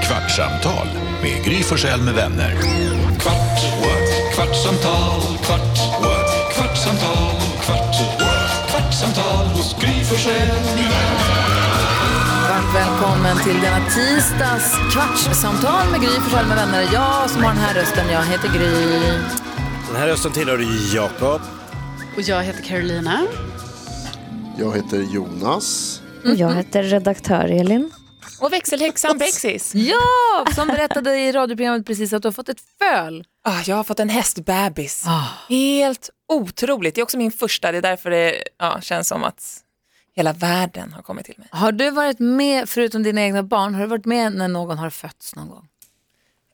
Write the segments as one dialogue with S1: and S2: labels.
S1: Kvartsamtal med Gry Forssell med vänner. Kvart, what? kvartsamtal, kvart, what? kvartsamtal, kvart, what? kvartsamtal hos Gry Forssell med vänner.
S2: Varmt välkommen till denna tisdags kvartssamtal med Gry Forssell med vänner. Jag som har den här rösten, jag heter Gry.
S3: Den här rösten tillhör Jakob.
S4: Och jag heter Carolina.
S5: Jag heter Jonas.
S6: Och jag heter redaktör Elin.
S7: Och växelhäxan Bexis.
S2: Ja, som berättade i radioprogrammet precis att du har fått ett föl.
S7: Ah, jag har fått en hästbebis.
S2: Ah.
S7: Helt otroligt. Det är också min första. Det är därför det ja, känns som att hela världen har kommit till mig.
S2: Har du varit med, förutom dina egna barn, har du varit med när någon har fötts någon gång?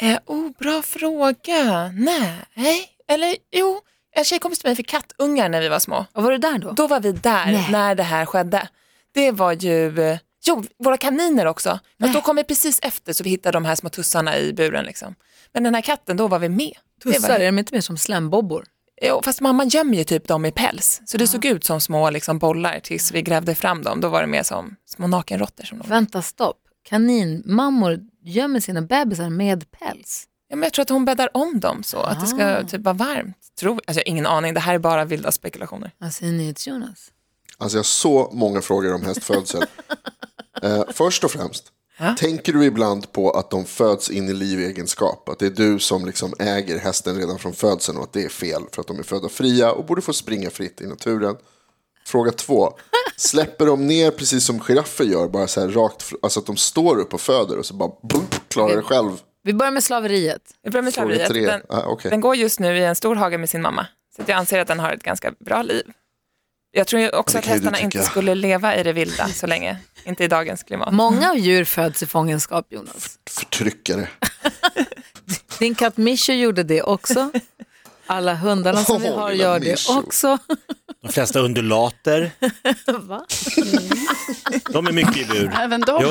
S7: Eh, oh, bra fråga. Nej. Eller jo, en tjejkompis till mig fick kattungar när vi var små.
S2: Och var du där då?
S7: Då var vi där
S2: Nej.
S7: när det här skedde. Det var ju, eh, jo, våra kaniner också. Att då kom vi precis efter så vi hittade de här små tussarna i buren. Liksom. Men den här katten, då var vi med. Det var-
S2: Tussar, är de inte mer som slembobbor?
S7: Jo, fast mamma gömmer ju typ dem i päls. Så det såg ut som små liksom, bollar tills vi grävde fram dem. Då var det mer som små nakenråttor. Som de...
S2: Vänta, stopp. Kaninmammor gömmer sina bebisar med päls.
S7: ja, men jag tror att hon bäddar om dem så att det ska typ vara varmt. Tror... Alltså, jag har ingen aning, det här är bara vilda spekulationer.
S2: Vad säger NyhetsJonas?
S5: Alltså jag har så många frågor om hästfödsel. eh, först och främst, tänker du ibland på att de föds in i livegenskap? Att det är du som liksom äger hästen redan från födseln och att det är fel för att de är födda fria och borde få springa fritt i naturen? Fråga två, släpper de ner precis som giraffer gör, bara så här rakt, fr- alltså att de står upp och föder och så bara boom, klarar det själv?
S2: Vi börjar med slaveriet.
S7: Jag börjar med
S5: Fråga
S7: slaveriet.
S5: tre.
S7: Den,
S5: Ah, okej.
S7: den går just nu i en stor hage med sin mamma. Så att jag anser att den har ett ganska bra liv. Jag tror ju också
S5: Det
S7: att
S5: kan ju du
S7: hästarna inte
S5: tycka.
S7: skulle leva i det vilda så länge. Inte i dagens klimat.
S2: Många djur föds i fångenskap, Jonas.
S5: Förtryckare.
S2: Din katt Mischo gjorde det också. Alla hundarna som vi
S5: Åh,
S2: har
S5: lilla
S2: gör det
S5: Mischo.
S2: också.
S3: De flesta undulater. De är mycket i bur.
S4: Även de.
S3: Jo,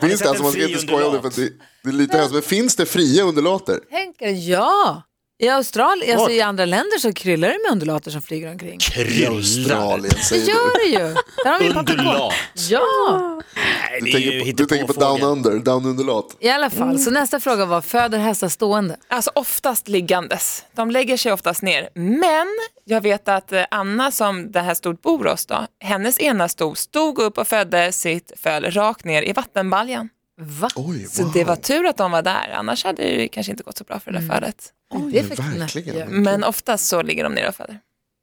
S5: Finns
S3: sett
S5: det, alltså,
S3: en
S5: man ska
S3: fri
S5: inte skoja om det, för
S3: undulat?
S5: att det, det är lite hemskt, men finns det fria undulater?
S2: Tänker ja. I Australien, alltså
S3: Vart?
S2: i andra länder så kryllar det med undulater som flyger omkring.
S3: kryllar.
S5: Australien
S2: Det
S5: säger du.
S2: gör det ju. Där har vi en papegoj.
S3: Undulat.
S2: Ja,
S3: Nej,
S5: Du
S3: det är ju
S5: tänker på, du
S3: hittepåfågel.
S5: tänker på down under, down underlat.
S2: i alla fall. Så nästa fråga var, föder hästar stående?
S7: Alltså oftast liggandes. De lägger sig oftast ner. Men jag vet att eh, Anna som det här stod bor hos då, hennes ena stod stod upp och födde sitt föl rakt ner i vattenbaljan.
S2: Va?
S5: Oj,
S7: Så det var tur att de var där, annars hade det ju kanske inte gått så bra för det där
S4: Mm.
S7: fölet.
S2: det
S5: men
S2: fick du nästan
S5: verkligen.
S2: göra.
S7: Men oftast så ligger de ner och föder.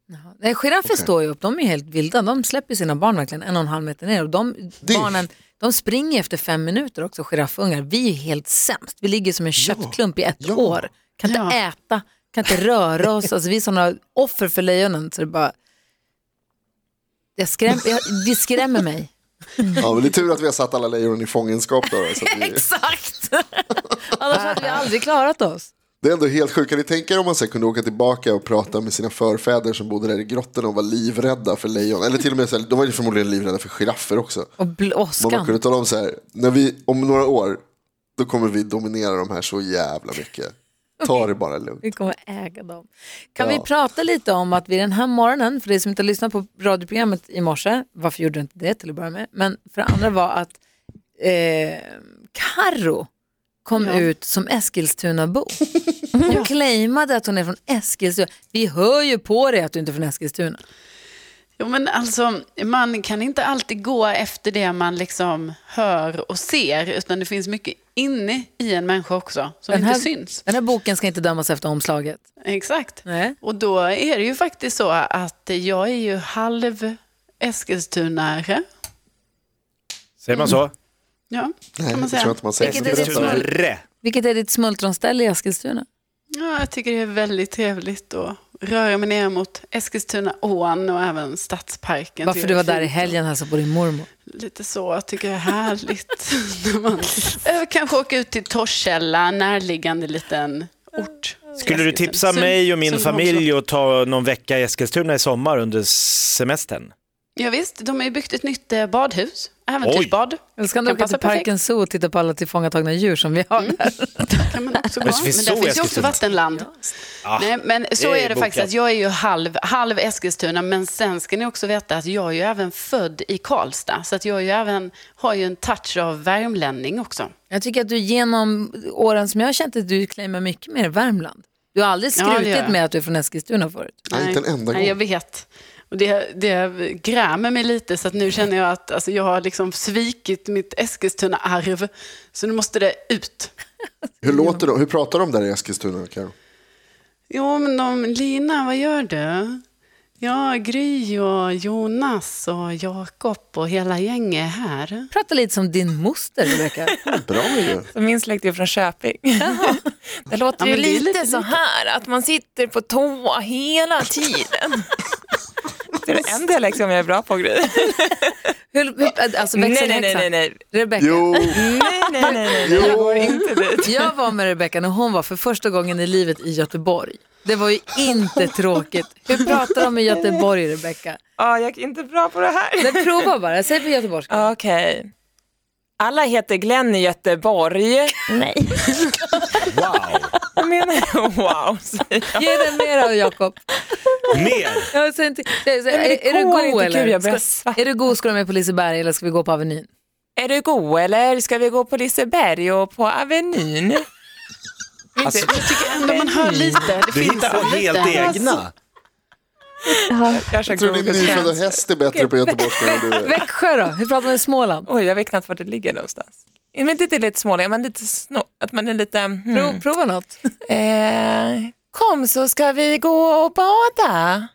S2: Jaha. Nej, giraffer står ju upp, de är ju helt vilda. De släpper sina barn verkligen en och en halv meter ner. Och de,
S5: Det-
S2: barnen, de springer efter fem minuter också, giraffungar. Vi är ju helt sämst. Vi ligger som en köttklump i ett
S5: Ja.
S2: år. Kan inte
S4: Ja.
S2: äta, kan inte röra oss. Alltså, vi är sådana offer för lejonen så det bara... Jag skräm, jag, det skrämmer mig.
S5: Ja, men det är tur att vi har satt alla lejon i fångenskap. Då, så att vi,
S2: Exakt! Annars hade vi aldrig klarat oss.
S5: det är ändå helt sjukt. Kan ni tänka er om man sen kunde åka tillbaka och prata med sina förfäder som bodde där i grottorna och var livrädda för lejon. Eller till och med, så här, de var ju förmodligen livrädda för giraffer också.
S2: Och
S5: Men man kunde
S2: blåskan.
S5: tala om så här, när vi, om några år, då kommer vi dominera de här så jävla mycket. Ta det bara lugnt.
S2: Vi kommer äga dem. Kan
S5: Ja.
S2: vi prata lite om att vi den här morgonen, för dig som inte lyssnade på radioprogrammet i morse, varför gjorde du inte det till att börja med? Men för det andra var att eh, Karo kom ut som Eskilstuna-bo. Hon claimade att hon är från Eskilstuna. Vi hör ju på dig att du inte är från Eskilstuna.
S4: Jo, men alltså, man kan inte alltid gå efter det man liksom hör och ser, utan det finns mycket inne i en människa också som
S2: Den här,
S4: inte syns.
S2: den här boken ska inte dömas efter omslaget.
S4: Exakt.
S2: Nej.
S4: Och då är det ju faktiskt så att jag är ju halv Eskilstunare.
S3: Säger man
S5: Mm.
S3: så?
S4: Ja,
S5: Nej,
S4: kan man
S5: det tror jag
S4: säga.
S5: inte man säger.
S2: Vilket är ditt
S5: Men-
S2: svar?
S3: Tunare.
S2: Vilket är ditt smultronställe i Eskilstuna?
S4: Ja, jag tycker det är väldigt trevligt att röra mig ner mot Eskilstunaån och även Stadsparken.
S2: Varför
S4: tycker
S2: du var
S4: jag är
S2: där i
S4: fint.
S2: helgen och hälsade på din mormor.
S4: Lite så, jag tycker det är härligt. när man eh, kanske åka ut till Torshälla, närliggande liten ort.
S3: Skulle du tipsa
S4: Som-
S3: mig och min
S4: som
S3: familj att ta någon vecka i Eskilstuna i sommar under semestern?
S4: Ja, visst, de har ju byggt ett nytt eh, badhus, äventyrsbad.
S2: Eller ska du
S4: Kan
S2: åka
S4: passa
S2: till Parken Zoo och titta på alla tillfångatagna djur som vi har där?
S4: kan man också gå.
S3: Men det finns
S4: Men
S3: så
S4: där finns ju också
S3: Eskilstuna. Ah,
S4: vattenland. Nej, men så
S3: det
S4: är
S3: är
S4: det faktiskt.
S3: bokat.
S4: Att jag är ju halv, halv Eskilstuna, men sen ska ni också veta att jag är ju även född i Karlstad. Så att jag är ju även, har ju en touch av värmlänning också.
S2: Jag tycker att du genom åren som jag har känt att du claimar mycket mer Värmland. Du har aldrig
S4: Ja, det gör
S2: skrutit
S4: jag.
S2: med att du är från Eskilstuna förut.
S5: Nej, inte en enda
S4: nej, jag
S5: gång.
S4: vet. Och det, det grämer mig lite, så att nu känner jag att alltså, jag har liksom svikit mitt Eskilstuna-arv. Så nu måste det ut.
S5: Hur, låter de, hur pratar de där i Eskilstuna, Karo?
S4: Jo, men de, Lina, vad gör du? Ja, Gry och Jonas och Jakob och hela gänget är här.
S2: Prata lite som din moster, Rebecka.
S5: Bra ju.
S7: Så min släkt är från Köping. Det låter
S4: Ja,
S7: ju
S4: men det är
S7: lite,
S4: lite
S7: så här, att man sitter på tå hela tiden. Det är en dialekt som jag är bra på, Gry.
S2: Hur, hur, alltså
S7: Nej,
S2: växelhäxan.
S7: nej, nej, nej, nej.
S2: Rebecka.
S5: Jo,
S7: Nej, nej, nej, nej. nej. Jag
S5: jo.
S7: går inte dit.
S2: Jag var med Rebecka när hon var för första gången i livet i Göteborg. Det var ju inte tråkigt. Hur pratar de i Göteborg, Rebecka?
S7: Ja, jag är inte bra på det här.
S2: Men prova bara, säg på göteborgska.
S7: Okej. Alla heter Glenn i Göteborg.
S6: Nej.
S3: Wow!
S7: Jag menar, wow, säger jag.
S2: Ge den mer av Jakob.
S3: Mer!
S2: Jag säger inte, jag säger,
S7: det
S2: är, är du
S7: går
S2: god
S7: inte, gud,
S2: eller?
S7: jag börjar
S2: Ska,
S7: svettas.
S2: är du god ska du med på Liseberg eller ska vi gå på Avenyn?
S7: Är du god eller ska vi gå på Liseberg och på Avenyn?
S3: Alltså,
S4: Ändå man hör lite. Det
S3: du
S4: finns
S3: hittar på
S4: lite.
S3: helt egna.
S6: Jaha.
S7: Jag kör
S5: Jag tror din
S7: Google
S5: nyfödda
S7: Trends.
S5: häst är bättre på göteborgska än du är.
S2: Växjö då? Hur pratar man i Småland?
S7: Oj, jag vet knappt var det ligger någonstans. Men det är inte lite smålig, men lite snor, att man är lite...
S2: Prova,
S7: Hmm.
S2: prova något.
S7: Eh, kom så ska vi gå och bada.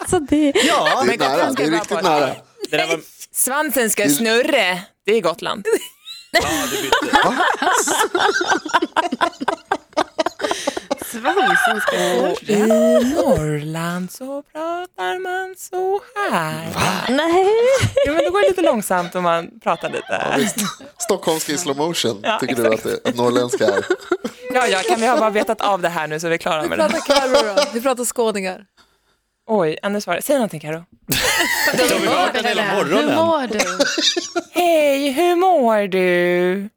S6: Alltså det...
S7: Ja,
S5: Det är nära, det är riktigt nära.
S3: Det där var...
S7: Svansen ska snurra. Det är Gotland.
S3: Ja, du bytte.
S4: Svansen ska
S7: I Norrland så pratar man så här.
S6: Nej.
S7: Jo, men då går det lite långsamt om man pratar lite.
S5: Stockholmska i slow motion,
S7: Ja,
S5: tycker du att, det, att norrländska är?
S7: Ja, ja, kan vi ha bara betat av det här nu så är vi klara med det.
S2: Prata Carro då? Hur pratar skåningar?
S7: Oj, Anders var det. Säg någonting Karo.
S3: De vill vakna hela
S4: Hur
S3: morgonen.
S4: mår du?
S7: Hej, hur mår du?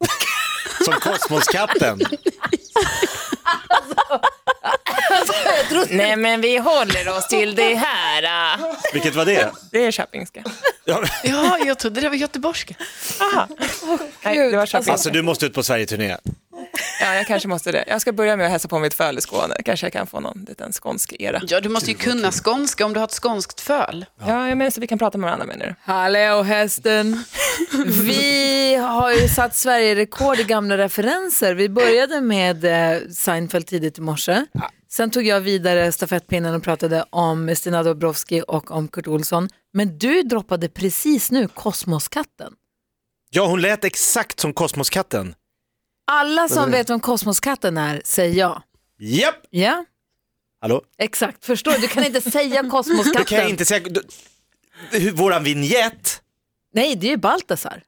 S3: Som Kosmoskatten.
S7: Nej, men vi håller oss till det här. ah.
S3: Vilket var det?
S7: Det är köpingska.
S3: Ja,
S4: Ja, jag trodde det var göteborgska.
S7: Aha. Nej, det var köpingska.
S3: Alltså, du måste ut på Sverigeturné.
S7: Ja, jag kanske måste det. Jag ska börja med att hälsa på mitt föl i Skåne. Kanske jag kan få någon liten skånsk era.
S4: Ja, du måste ju kunna skånska om du har ett skånskt föl.
S7: Ja, jag menar så vi kan prata med varandra menar du?
S2: Hallå hästen! Vi har ju satt Sverige-rekord i gamla referenser. Vi började med eh, Seinfeld tidigt i morse. Sen tog jag vidare stafettpinnen och pratade om Stina Dobrowski och om Kurt Olsson. Men du droppade precis nu Kosmoskatten.
S3: Ja, hon lät exakt som Kosmoskatten.
S2: Alla som vet vem Kosmoskatten är säger ja.
S3: Japp!
S2: Ja,
S3: Hallå?
S2: exakt. Förstår du? Du kan inte säga
S3: Det kan jag
S2: Kosmoskatten.
S3: inte säga. Du, hur- våran vignett.
S2: Nej, det är ju Baltasar.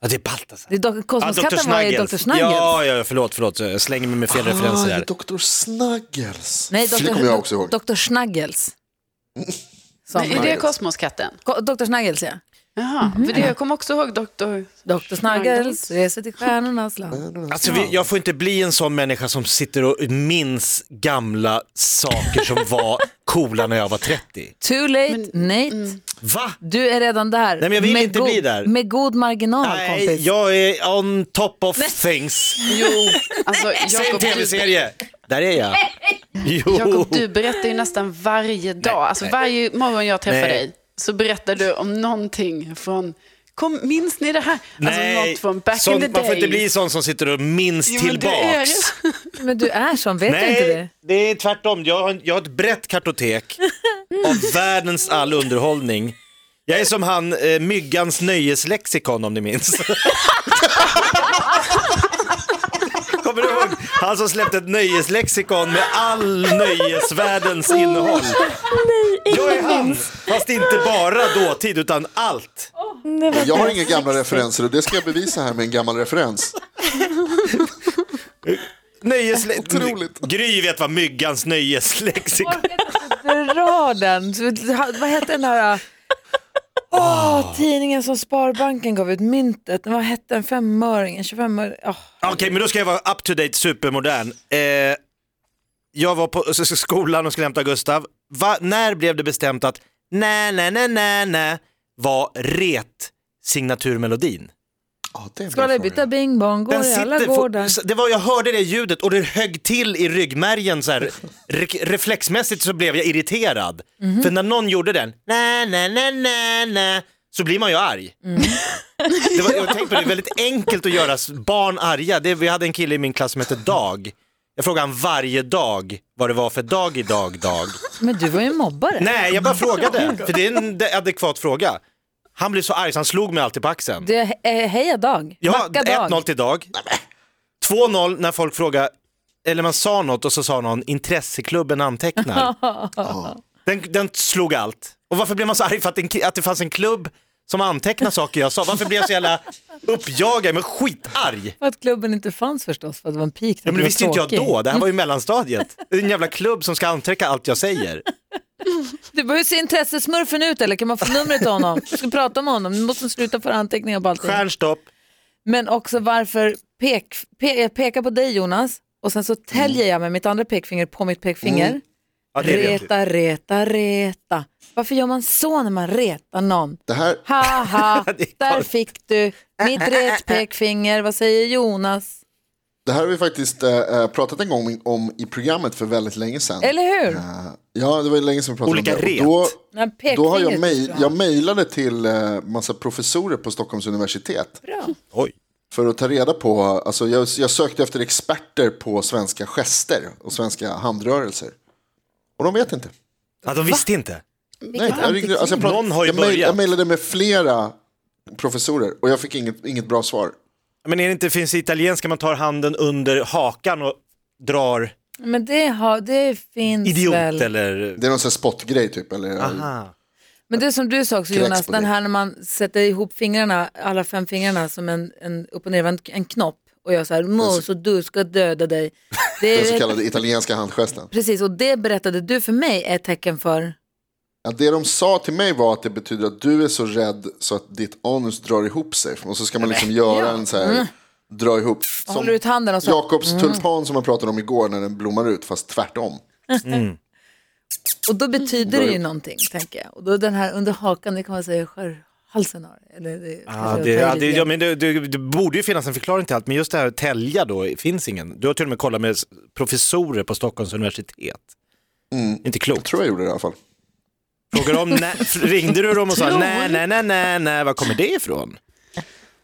S3: Ja, det är Baltasar.
S2: Det är dock- Kosmoskatten var ju Dr. Snuggles.
S3: Ah, Ja, ja, förlåt, förlåt. Jag slänger mig med fel referenser
S5: Ah,
S3: här.
S5: Dr. Snuggles.
S2: Nej,
S5: det kommer jag
S2: Dr.
S5: också ihåg.
S2: Dr. Snuggles. Sa
S4: Nej, är
S2: man.
S4: det Kosmoskatten?
S2: Ko- Dr. Snuggles, ja.
S4: Jaha, för det jag kommer också ihåg doktor...
S2: Dr. Snuggles reser till stjärnornas
S5: Mm.
S2: land.
S3: Alltså, vi, jag får inte bli en sån människa som sitter och minns gamla saker som var coola när jag var 30.
S2: Too late, Nate.
S3: Va?
S2: Du är redan där.
S3: mm. men jag vill
S2: med
S3: inte bli där.
S2: Med god marginal,
S3: Nej,
S2: kompis.
S3: jag är on top of things.
S4: Jo, alltså
S3: Det är en
S4: Jakob, du,
S3: tv-serie. Där är jag. Jo.
S4: Jakob, du berättar ju nästan varje dag. Alltså varje morgon jag träffar
S3: Nej.
S4: dig så berättar du om någonting från... Kom, minns ni det här? Alltså något från back
S3: sånt,
S4: in the
S3: man
S4: day.
S3: får inte bli sån som sitter och minns
S4: Jo, men du är
S3: tillbaks.
S4: ju-
S2: Men du är som, vet du inte det?
S3: Nej, det är tvärtom. Jag har, jag har ett brett kartotek av världens all underhållning. Jag är som han, eh, Myggans nöjeslexikon om ni minns. Kommer du ihåg? Han som släppte ett nöjeslexikon med all nöjesvärldens innehåll. Jag är han, fast inte bara dåtid utan allt.
S6: Det var
S5: Jag har
S6: det.
S5: inga gamla referenser och det ska jag bevisa här med en gammal referens.
S3: Nöjesle-
S5: Otroligt.
S3: Gry vet vad myggans nöjeslexikon
S2: Dra den. Så, ha- Vad hette den där? Åh, tidningen som Sparbanken gav ut, myntet. Vad hette den? Femöringen, 25 öring. Åh.
S3: Okej, men då ska jag vara up to date, supermodern. Eh, jag var på s- s- skolan och skulle hämta Gustav. Va, när blev det bestämt att nä, nä, nä, nä, nä var ret signaturmelodin?
S5: Ja, det är en bra
S2: Ska det
S5: fråga.
S2: byta bing bong, går i alla
S3: for-
S2: gårdar.
S3: s- det var, jag hörde det ljudet och det högg till i ryggmärgen så här. Re, reflexmässigt så blev jag irriterad.
S2: Mhm.
S3: För när någon gjorde den, nä, nä, nä, nä, nä, så blir man ju arg.
S2: Mm.
S3: Det var, jag tänkte på det, det är väldigt enkelt att göra s- barn arga. Det, vi hade en kille i min klass som hette Dag. Jag frågade han varje dag vad det var för dag idag, Dag.
S2: Men du var ju mobbare.
S3: Nej, jag bara frågade, för det är en d- adekvat fråga. Han blev så arg så han slog mig alltid på axeln.
S2: Du, eh, heja Dag.
S3: Ja,
S2: Backa Dag.
S3: 1-0 till Dag. 2-0 när folk frågar, eller man sa något och så sa någon intresseklubben antecknar. den, den slog allt. Och varför blev man så arg för att, en, att det fanns en klubb som antecknar saker jag sa? Varför blev jag så jävla uppjagad, men skitarg?
S2: För att klubben inte fanns förstås, för att det var en pik.
S3: Ja, men det visste inte jag då, det här var ju mellanstadiet. Det är en jävla klubb som ska anteckna allt jag säger.
S2: Du behöver se intressesmurfen ut eller kan man få numret till honom? Du ska prata med honom, du måste sluta föra anteckningar på allting.
S3: Stjärnstopp.
S2: Men också varför pek, pe, jag pekar på dig Jonas och sen så täljer jag med mitt andra pekfinger på mitt pekfinger.
S3: Mm. Ja, det vet du.
S2: Reta, reta, reta. Varför gör man så när man retar någon?
S5: Det här,
S2: Ha ha,
S3: Det är
S2: där
S3: klart.
S2: fick du mitt ret pekfinger. Vad säger Jonas?
S5: det här har vi faktiskt eh, eh, pratat en gång om i programmet för väldigt länge sedan.
S2: Eller hur?
S5: Eh, ja, det var ju länge sedan vi pratade
S3: Olika
S5: om det.
S3: ret.
S5: Och Då,
S2: När pekfingret
S5: då har jag,
S2: gick
S5: mejl,
S2: fram.
S5: jag mejlade till eh, massa professorer på Stockholms universitet.
S3: Oj.
S5: För att ta reda på, alltså jag, jag sökte efter experter på svenska gester och svenska handrörelser. Och de vet inte.
S3: Ja, de visste inte.
S5: Nej, jag, ringde, alltså jag, pratade,
S3: Någon har ju
S5: jag, mejl,
S3: börjat.
S5: jag mejlade med flera professorer och jag fick inget, inget bra svar.
S3: Men är det inte finns i italienska man tar handen under hakan och drar
S2: Men det, har, det finns
S3: idiot
S2: väl.
S3: eller...
S5: Det är någon sån här spottgrej typ. Eller,
S3: Aha.
S2: Men det som du sa också
S5: Kräks
S2: Jonas,
S5: på
S2: den
S5: det.
S2: här när man sätter ihop fingrarna, alla fem fingrarna som en, en upp och nervänd en knopp och jag så här, mos och du ska döda dig. Det
S5: Alltså- Den så
S2: är,
S5: kallade italienska handgesten.
S2: precis, och det berättade du för mig är ett tecken för,
S5: Ja, det de sa till mig var att det betyder att du är så rädd så att ditt anus drar ihop sig. Och så ska man liksom göra en så här, dra ihop.
S2: Mm. håller ut handen och så,
S5: Jakobs tulpan som jag pratade om igår när den blommar ut, fast tvärtom.
S2: och då betyder det ju någonting tänker jag. Och då den här under hakan, det kan man säga skär halsen har. Eller det,
S3: Ja,
S2: kanske
S3: Ah, det,
S2: jag tar i
S3: ja, det,
S2: lite
S3: ja,
S2: grann.
S3: men det, det, det borde ju finnas en förklaring till allt, men just det här tälja då finns ingen. Du har till och med kollat med s- professorer på Stockholms universitet. Inte klokt.
S5: Tror Mm. jag gjorde det i alla fall.
S3: Frågar om, nä, ringde du dem och sa nej, nej, nej, nej, nej, var kommer det ifrån?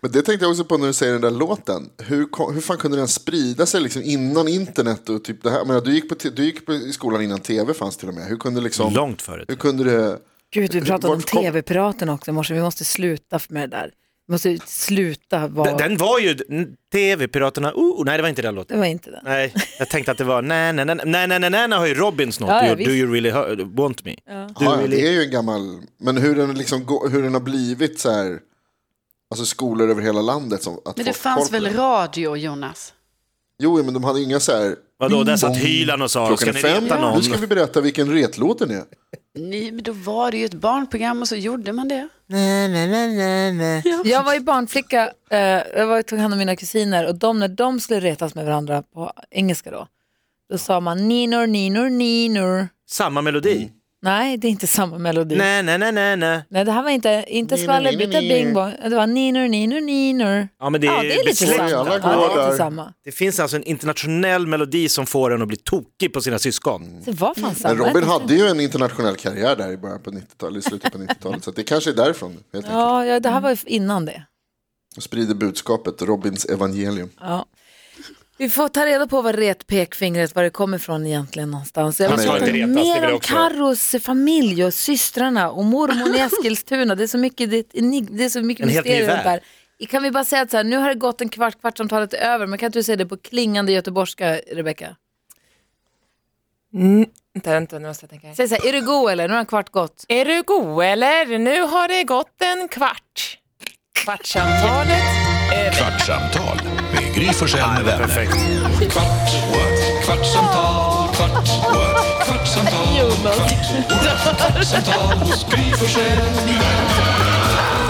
S5: Men det tänkte jag också på när du säger den där låten. Hur, ko- hur fan kunde den sprida sig liksom innan internet och typ det här? Jag Menar, du gick, på te- du gick på, i skolan innan tv fanns till och med. Hur kunde liksom...
S3: Långt förut.
S5: Hur kunde det...
S2: Gud, vi pratade om
S5: Vart kom-
S2: tv-piraten också i morse, vi måste sluta med det där. Vi måste sluta vara,
S3: Den, den var ju n- TV-piraterna, oh, nej det var inte den
S2: det
S3: låten.
S2: var inte den.
S3: Nej, jag tänkte att det var nej, nej, nej, nej, nej, nej, nej, nej har ju Robin snott.
S2: Ja, ja,
S3: You-
S2: visst.
S3: Do you really hu- want me? Do you
S5: Ja, ja,
S3: really
S5: det är ju en gammal... Men hur den, liksom, gå- hur den har blivit så här... Alltså skolor över hela landet. Som, att
S4: Men det
S5: folk koll
S4: fanns
S5: på den.
S4: väl radio, Jonas?
S5: Jo, men de hade inga så här...
S3: Vadå, där satt
S5: Bong.
S3: Hyland och sa,
S5: Mm. Klockan
S3: ska
S5: är
S3: ni
S5: fem,
S3: reta någon?
S5: nu ska vi berätta vilken retlåt den är.
S4: Nej, men då var det ju ett barnprogram och så gjorde man det.
S2: Jag var ju barnflicka, eh, jag var, tog hand om mina kusiner och de, när de skulle retas med varandra på engelska då, då sa man ninor, ninor, ninor.
S3: Samma
S5: Mm.
S3: melodi?
S2: Nej, det är inte samma melodi. Nej,
S3: Nej, nej, nej, nej, nej.
S2: det här var inte, inte
S5: Ninor,
S2: skvallerbytta
S5: ninor, ninor.
S2: bing bong, det var ninor, ninor, ninor.
S3: Ja, men det är,
S2: Ja, det är lite
S3: besläkt.
S2: samma.
S5: besläktat.
S2: Ja, det är lite samma.
S3: Det finns alltså en internationell melodi som får en att bli tokig på sina syskon.
S2: Det var fan samma.
S5: Men Robin hade ju en internationell karriär där i början på 90-talet, i slutet på 90-talet. Så att det kanske är därifrån, helt enkelt.
S2: Ja, ja, det här var ju innan det.
S5: Och sprider budskapet, Robins evangelium.
S2: Ja. Vi får ta reda på vad retpekfingret, var det kommer ifrån egentligen någonstans. Jag
S5: Han
S2: vill
S5: ska
S2: veta
S5: inte
S3: retas, det vill
S2: mer
S3: jag
S2: om
S3: också.
S2: Carros familj och systrarna och mormor i Eskilstuna. Det är så mycket, det är ett enig- det är så mycket
S3: En helt ny
S2: mysterier runt
S3: värld.
S2: där. Kan vi bara säga att så här, nu har det gått en kvart, kvartsamtalet är över, men kan inte du säga det på klingande göteborgska, Rebecka?
S7: Mm, vänta, vänta, nu måste jag tänka.
S2: Säg så här, är du god eller? Nu har en kvart gått.
S7: Är du god eller? Nu har det gått en kvart. Kvartsamtalet
S1: Kvartsamtal med Gry Forssell med vänner. Kvart, what? kvartsamtal, kvart, what? kvartsamtal, kvart, what? kvartsamtal hos Gry Forssell med vänner.